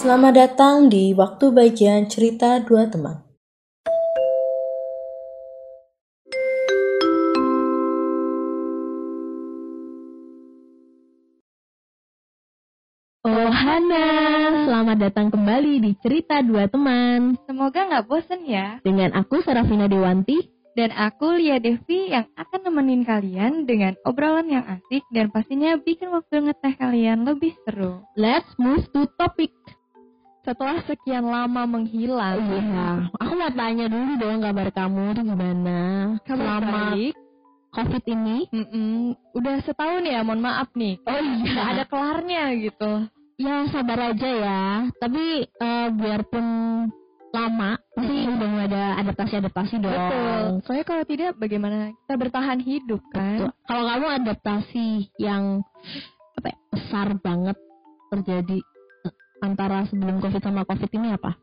Selamat datang di waktu bagian cerita dua teman. Oh Hana, selamat datang kembali di Cerita Dua Teman Semoga nggak bosen ya. Dengan aku Serafina Dewanti Dan aku Lia Devi yang akan nemenin kalian dengan obrolan yang asik dan pastinya bikin waktu ngeteh kalian lebih seru. Let's move to topic Setelah sekian lama menghilang, Iya, aku mau tanya dulu dong kabar kamu tuh gimana kamu Selama balik. covid ini Mm-mm. udah setahun ya, mohon maaf nih. Oh Nggak ada kelarnya gitu. Ya sabar aja ya Tapi eh, biarpun lama Pasti udah mulai ada adaptasi-adaptasi dong Betul. Soalnya kalau tidak, bagaimana kita bertahan hidup Tuh, kan? Iya. Kalau kamu adaptasi yang apa ya, besar banget terjadi eh, antara sebelum covid sama covid ini apa?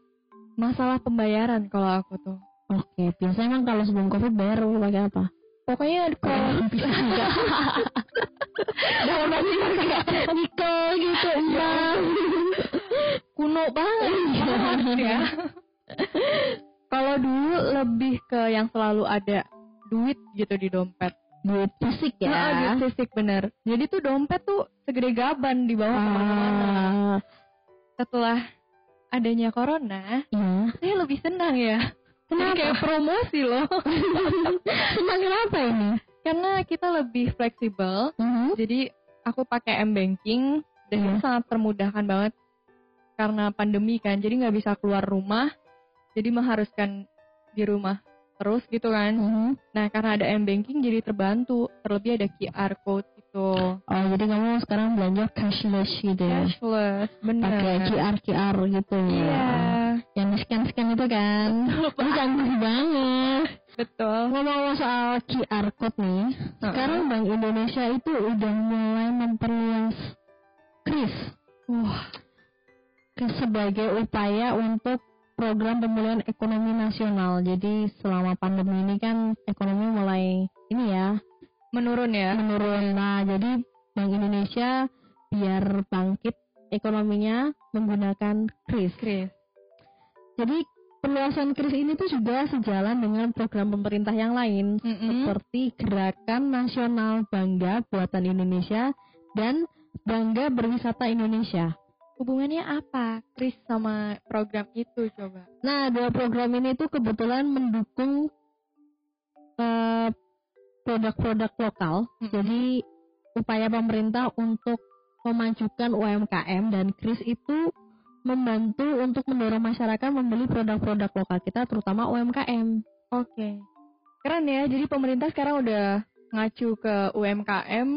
Masalah pembayaran kalau aku tuh. Oke, biasanya emang kalau sebelum covid bayar lu pakai apa? Pokoknya Oh, kalau Dalam hati kayak nikel gitu, emas. kuno banget Iya. banget ya. Kalau dulu lebih ke yang selalu ada duit gitu di dompet. Duit fisik ya. Nah, duit fisik bener. Jadi tuh dompet tuh segede gaban di bawah kemana-mana. Ah, Setelah adanya corona, iya. saya lebih senang ya. Jadi Kenapa? kayak promosi loh. Senang kenapa ini? Karena kita lebih fleksibel. Mhm. Jadi aku pakai M banking dan itu Iya. sangat termudahkan banget karena pandemi kan. Jadi nggak bisa keluar rumah. Jadi mengharuskan di rumah terus gitu kan. Mhm. Nah, karena ada M banking jadi terbantu. Terlebih ada QR code gitu. Oh, jadi kamu sekarang belanja cashless gitu ya? Cashless, bener. Pakai QR QR gitu ya? Iya, Yang scan scan itu kan? Itu canggih banget. betul. Ngomong soal QR code nih, sekarang Bank Indonesia itu udah mulai memperluas KRIS Wah, ke- sebagai upaya untuk program pemulihan ekonomi nasional. Jadi selama pandemi ini kan ekonomi mulai ini ya menurun ya. menurun. Nah, jadi Bank Indonesia biar bangkit ekonominya menggunakan KRIS. Kris. Jadi perluasan KRIS ini tuh juga sejalan dengan program pemerintah yang lain Hmm. seperti Gerakan Nasional Bangga Buatan Indonesia dan Bangga Berwisata Indonesia. Hubungannya apa Kris sama program itu coba? Nah, dua program ini tuh kebetulan mendukung eh, produk-produk lokal. Mm-mm. Jadi upaya pemerintah untuk memajukan UMKM dan KRIS itu membantu untuk mendorong masyarakat membeli produk-produk lokal kita terutama UMKM. Oke. Keren ya. Jadi pemerintah sekarang udah ngacu ke UMKM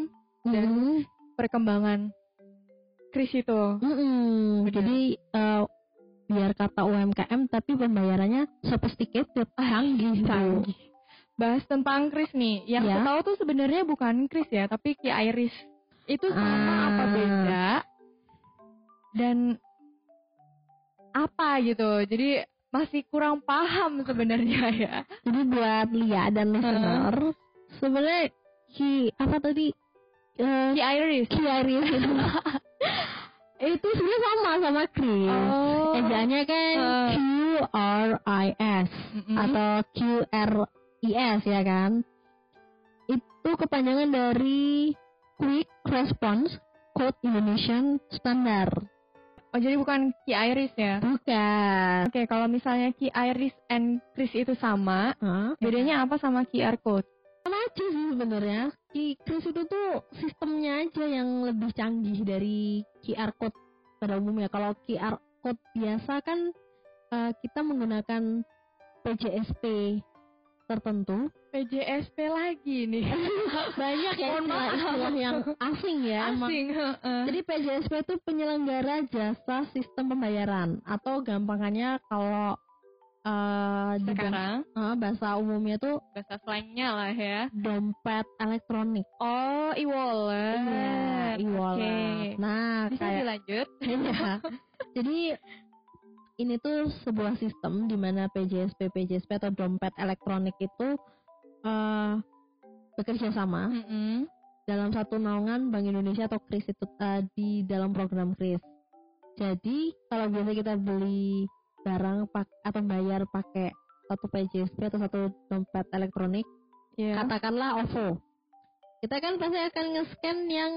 dan Mhm. perkembangan Kris itu. Mm-mm, Benar. jadi eh, biar kata UMKM tapi pembayarannya sophisticated, Gitu. canggih, canggih. Bahas tentang Kris nih. Yang Ya. aku tahu tuh sebenarnya bukan Kris ya, tapi Ki Iris. Itu sama Ah. apa beda? Dan apa gitu. Jadi masih kurang paham sebenarnya ya. Jadi buat Lia dan listener, sebenarnya ki apa tadi Eh, Ki Iris. ki Iris itu itu sebenarnya sama sama Kris. Oh. Ejaannya kan Eh. Q R I S Mm-mm. atau Q R I S ya kan? Itu kepanjangan dari Quick Response Code Indonesian Standard. Oh, jadi bukan Ki Iris ya. Bukan. Oke, kalau misalnya Ki Iris and Kris itu sama, Hah? bedanya apa sama QR code? Sama aja sih sebenarnya. Di Kris itu tuh sistemnya aja yang lebih canggih dari QR code pada umumnya. Kalau QR code biasa kan eh, kita menggunakan PJSP tertentu. PJSP lagi nih. Banyak ya Mohon maaf. istilah-istilah yang asing ya. emang. Asing. heeh. Jadi PJSP itu penyelenggara jasa sistem pembayaran atau gampangannya kalau eh, di bahasa, Sekarang eh, bahasa umumnya tuh bahasa slangnya lah ya. dompet elektronik. Oh, e-wallet. Iya, e-wallet. Oke. Nah, Bisa kayak dilanjut? Iya. Jadi ini tuh sebuah sistem di mana PJSP PJSP atau dompet elektronik itu eh bekerja sama Mm-mm. dalam satu naungan Bank Indonesia atau KRIS itu eh, di dalam program KRIS. Jadi kalau biasa kita beli barang pak atau bayar pakai satu PJSP atau satu dompet elektronik, Iya. katakanlah OVO. Kita kan pasti akan nge-scan yang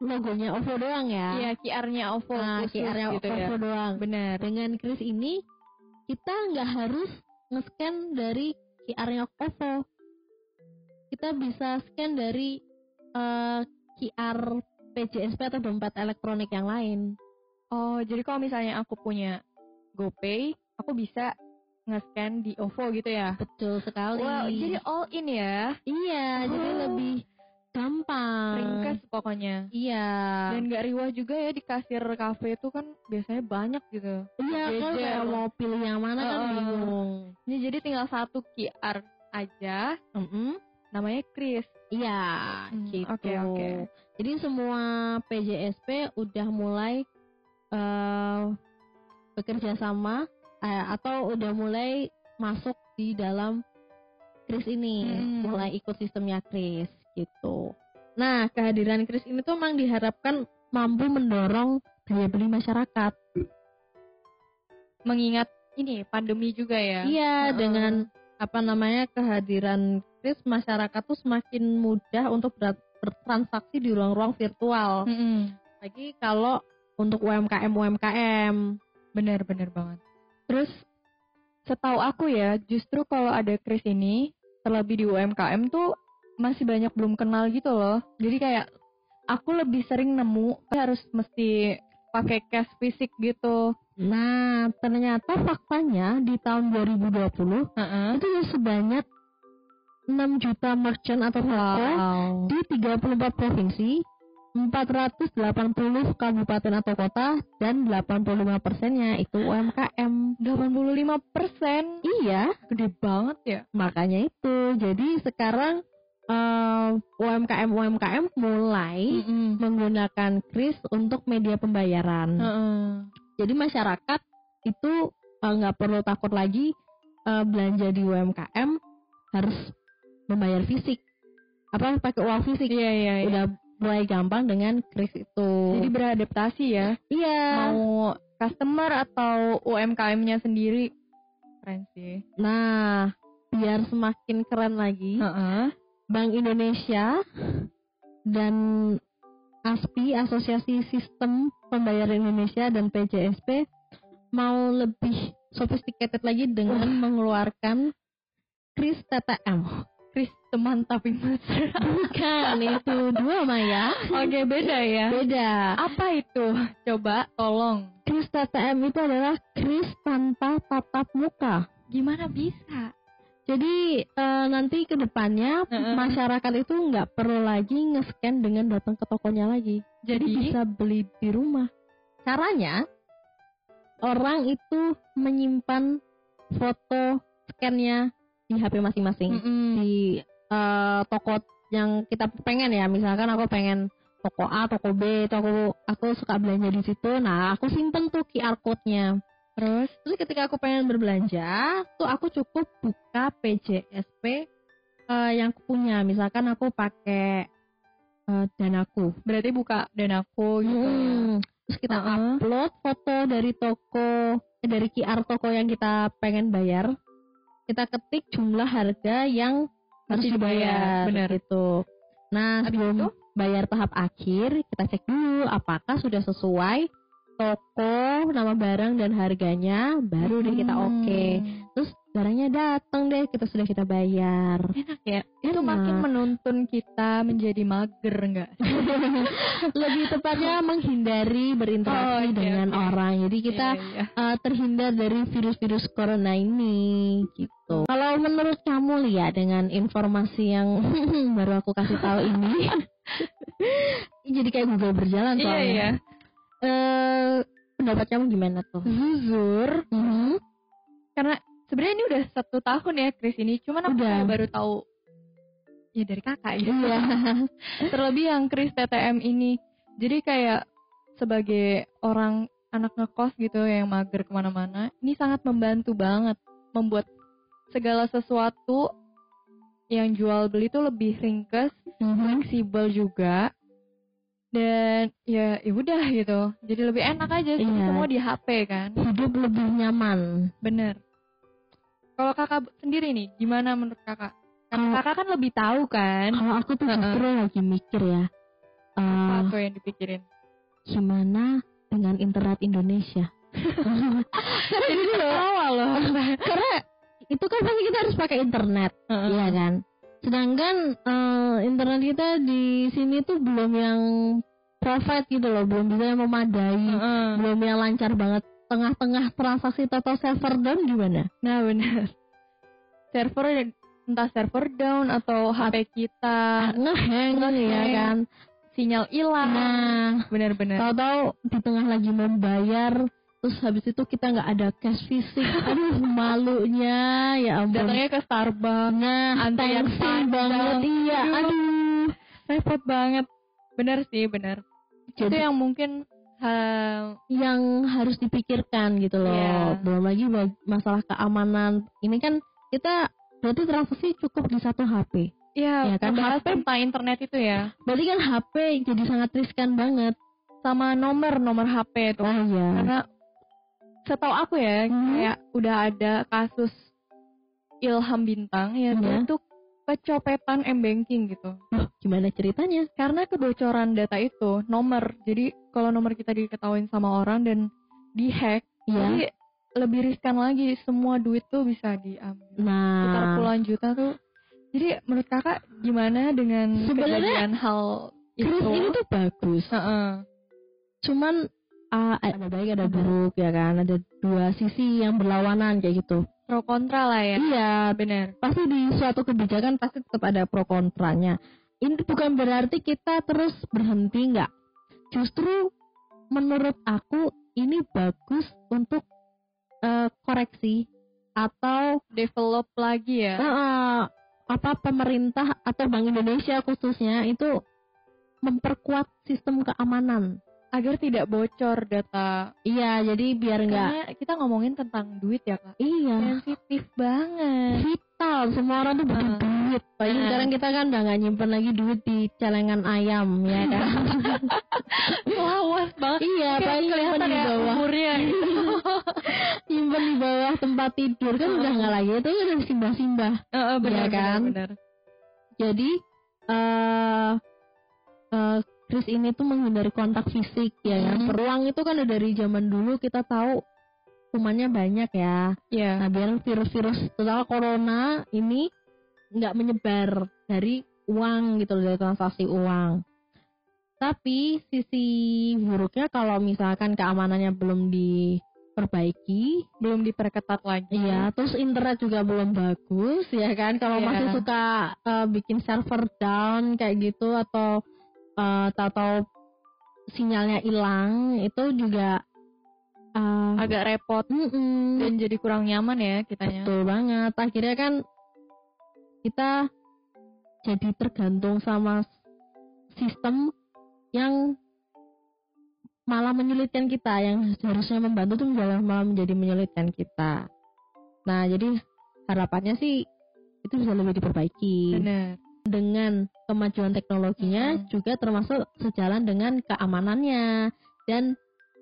logonya OVO doang ya. Iya, QR-nya OVO nah, khusus QR-nya gitu ya. OVO doang. Benar. Dengan kris ini kita nggak harus nge-scan dari QR-nya OVO. Kita bisa scan dari eh, QR PJSP atau dompet elektronik yang lain. Oh, jadi kalau misalnya aku punya GoPay, aku bisa nge-scan di OVO gitu ya. Betul sekali. Wow, jadi all in ya. iya, jadi Oh. lebih gampang. Ringkas pokoknya. Iya. Dan gak riwah juga ya di kasir cafe itu kan biasanya banyak gitu. iya kan jejer. kayak mau pilih yang mana kan Heeh. bingung. Ini jadi tinggal satu QR aja, Mm-mm. namanya Kris. Iya, Hmm, gitu. oke, oke. Jadi semua PJSP udah mulai eh, bekerja sama eh, atau udah mulai masuk di dalam Kris ini, Hmm. mulai ikut sistemnya Kris gitu. Nah, kehadiran Kris ini tuh memang diharapkan mampu mendorong daya beli masyarakat. Mengingat ini pandemi juga ya. Iya, Heeh. dengan apa namanya kehadiran Kris masyarakat tuh semakin mudah untuk ber- bertransaksi di ruang-ruang virtual. Mm-mm. Lagi kalau untuk UMKM UMKM. Benar, benar banget. Terus setahu aku ya, justru kalau ada Kris ini, terlebih di UMKM tuh masih banyak belum kenal gitu loh. Jadi kayak aku lebih sering nemu harus mesti pakai cash fisik gitu. Nah, ternyata faktanya di tahun 2020 Heeh. itu sebanyak 6 juta merchant atau toko Wow. di 34 provinsi, 480 kabupaten atau kota dan 85 persennya itu UMKM. 85 persen, Iya, gede banget ya. makanya itu jadi sekarang eh, UMKM UMKM mulai menggunakan kris untuk media pembayaran Heeh. jadi masyarakat itu eh, nggak perlu takut lagi eh, belanja di UMKM harus membayar fisik apa pakai uang fisik Iya iya. iya. udah mulai gampang dengan kris itu Jadi beradaptasi ya. iya Mau customer atau UMKM-nya sendiri. Keren sih. nah biar semakin keren lagi Heeh. Bank Indonesia dan ASPI Asosiasi Sistem Pembayaran Indonesia dan PJSP mau lebih sophisticated lagi dengan mengeluarkan kris TTM. Kris teman tapi mesra. Bukan itu dua Maya. Oke, beda ya. Beda. Apa itu? Coba tolong. Kris TTM itu adalah kris tanpa tatap muka. Gimana bisa? Jadi eh, nanti ke depannya Heeh. masyarakat itu nggak perlu lagi nge-scan dengan datang ke tokonya lagi. Jadi Jadi bisa beli di rumah. Caranya orang itu menyimpan foto scan-nya di HP masing-masing Mm-mm. di eh, toko yang kita pengen ya. Misalkan aku pengen toko A, toko B, toko aku suka belanja di situ. Nah, aku simpen tuh QR code-nya. terus Terus ketika aku pengen berbelanja, tuh aku cukup buka PJSP eh, yang aku punya. Misalkan aku pakai eh, Danaku. berarti buka dan aku gitu. ya. Hmm. Terus kita Heeh. upload foto dari toko eh, dari QR toko yang kita pengen bayar. Kita ketik jumlah harga yang harus Masih dibayar, dibayar, benar. gitu. Nah, Habis sebelum itu? bayar tahap akhir, kita cek dulu apakah sudah sesuai toko, nama barang dan harganya, baru deh Hmm. kita oke. Terus barangnya datang deh, kita sudah kita bayar. Enak ya. Itu Enak. makin menuntun kita menjadi mager enggak? Lebih tepatnya menghindari Oh, berinteraksi iya, dengan oke. Iya. orang. Jadi kita eh, terhindar dari virus-virus corona ini gitu. Kalau menurut kamu Lia dengan informasi yang baru aku kasih tahu ini jadi kayak Google berjalan Iya, soalnya. iya. iya. Eh, pendapat kamu gimana tuh? Zuzur Mhm. Hmm. karena sebenarnya ini udah satu tahun ya Kris ini cuman aku Udah. kayak baru tahu ya dari kakak ya Iya. terlebih yang Kris TTM ini jadi kayak sebagai orang anak ngekos gitu yang mager kemana-mana ini sangat membantu banget membuat segala sesuatu yang jual beli itu lebih ringkes Mhm. fleksibel juga dan ya ya udah gitu jadi lebih enak aja sih, Iya. semua di HP kan hidup lebih nyaman bener kalau kakak sendiri nih gimana menurut kakak karena Kalau- kakak kan lebih tahu kan kalau aku tuh Heeh. justru lagi mikir ya eh, apa tuh yang dipikirin gimana dengan internet Indonesia jadi ketawa loh karena itu kan pasti kita harus pakai internet Heeh. Iya kan. Sedangkan eh, internet kita di sini tuh belum yang perfect gitu loh, belum bisa yang memadai, Heeh. belum yang lancar banget. Tengah-tengah transaksi total server down gimana? nah bener server entah server down atau HP kita Ngeheng Ah, ngehang. Ah. ya kan. sinyal hilang Nah, bener-bener tahu-tahu di tengah lagi membayar terus habis itu kita nggak ada cash fisik aduh malunya ya ampun datangnya ke Starbucks nah antrian tension panjang. banget iya Aduh. aduh repot banget bener sih bener itu Jadi- yang mungkin hal yang harus dipikirkan gitu loh. Iya. Belum lagi bag- masalah keamanan. Ini kan kita berarti transaksi cukup di satu HP. Ya ya, kan, bahas HP. tentang internet itu ya Berarti kan HP jadi sangat riskan banget. sama nomor nomor HP itu Nah ya. karena setahu aku ya Hmm. kayak udah ada kasus Ilham Bintang ya Iya. untuk kecopetan m banking gitu Loh, gimana ceritanya? karena kebocoran data itu nomor jadi kalau nomor kita diketahuin sama orang dan dihack Ya. jadi lebih riskan lagi semua duit tuh bisa diambil sekitar Nah, puluhan juta tuh. Jadi menurut kakak gimana dengan Sebenarnya kejadian hal itu? terus ini tuh bagus. Heeh. Cuman ah, ada baik ada buruk ya kan. Ada dua sisi yang berlawanan kayak gitu. pro kontra lah ya. Iya, Benar. pasti di suatu kebijakan pasti tetap ada pro kontranya. Ini bukan berarti kita terus berhenti nggak. Justru menurut aku ini bagus untuk eh, koreksi atau Develop lagi ya. eh, apa pemerintah atau Bank Indonesia khususnya itu memperkuat sistem keamanan. Agar tidak bocor data. Iya, jadi biar nggak Karena kita ngomongin tentang duit ya kak. iya Sensitif banget. vital semua orang tuh butuh Heeh. duit. Apalagi Heeh. sekarang kita kan udah nggak nyimpen lagi duit di celengan ayam ya kan. Lawas banget. Iya, Kayak paling nyimpen kelihatan di ya bawah, Iya umurnya. nyimpen di bawah tempat tidur kan udah nggak lagi itu udah simbah-simbah. Heeh, benar Iya kan? Benar. Jadi eh eh, Chris ini tuh menghindari kontak fisik ya kan. Hmm. Peruang itu kan udah dari zaman dulu kita tahu kumannya banyak ya. Iya. Nah, biar virus-virus total corona ini nggak menyebar dari uang gitu loh, dari transaksi uang. Tapi sisi buruknya kalau misalkan keamanannya belum diperbaiki, Belum diperketat lagi. Iya, terus internet juga belum bagus ya kan. Kalau Iya. masih suka eh, bikin server down kayak gitu atau eh atau sinyalnya hilang, itu juga eh, Agak repot mm-mm, dan jadi kurang nyaman ya kitanya. betul banget. Akhirnya kan kita jadi tergantung sama sistem yang malah menyulitkan kita, yang seharusnya membantu tuh malah malah menjadi menyulitkan kita. Nah, jadi harapannya sih itu bisa lebih diperbaiki Benar. dengan kemajuan teknologinya Mm-mm. juga termasuk sejalan dengan keamanannya dan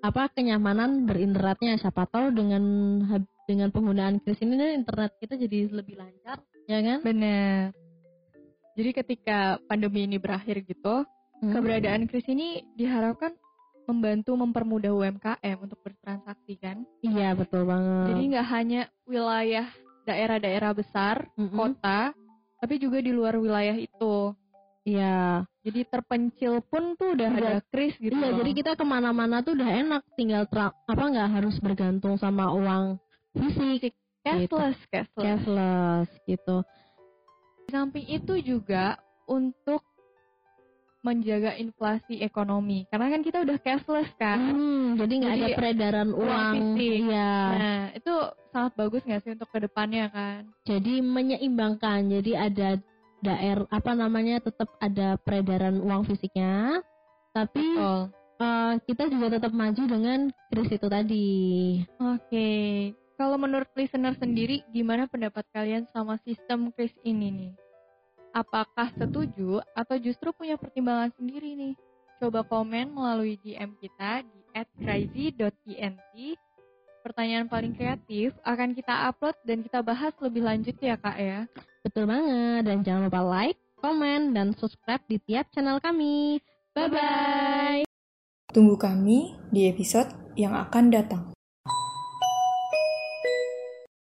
apa kenyamanan berinternetnya siapa tahu dengan hab- dengan penggunaan kris ini kan internet kita jadi lebih lancar ya kan Bener. Jadi ketika pandemi ini berakhir gitu, Hmm. Mm. keberadaan Kris ini diharapkan membantu mempermudah UMKM untuk bertransaksi kan. iya betul banget Jadi nggak hanya wilayah daerah-daerah besar, Mm-mm. kota, tapi juga di luar wilayah itu. iya Jadi terpencil pun tuh udah Udah. ada Kris gitu. iya loh. jadi kita kemana-mana tuh udah enak tinggal tra- apa nggak harus bergantung sama uang fisik Gitu. cashless, cashless. cashless gitu Di samping itu juga untuk menjaga inflasi ekonomi. Karena kan kita udah cashless kan. Hmm, jadi nggak ada Jadi, peredaran uang fisik. iya Nah, itu sangat bagus nggak sih untuk kedepannya kan? jadi menyeimbangkan jadi ada daer apa namanya tetap ada peredaran uang fisiknya tapi Betul. eh, kita juga tetap maju dengan kris itu tadi Oke. Kalau menurut listener sendiri, gimana pendapat kalian sama sistem kris ini nih? Apakah setuju atau justru punya pertimbangan sendiri nih? coba komen melalui DM kita di @crazy.int. Pertanyaan paling kreatif akan kita upload dan kita bahas lebih lanjut ya kak ya. Betul banget. Dan jangan lupa like, komen, dan subscribe di tiap channel kami. Bye-bye. Tunggu kami di episode yang akan datang.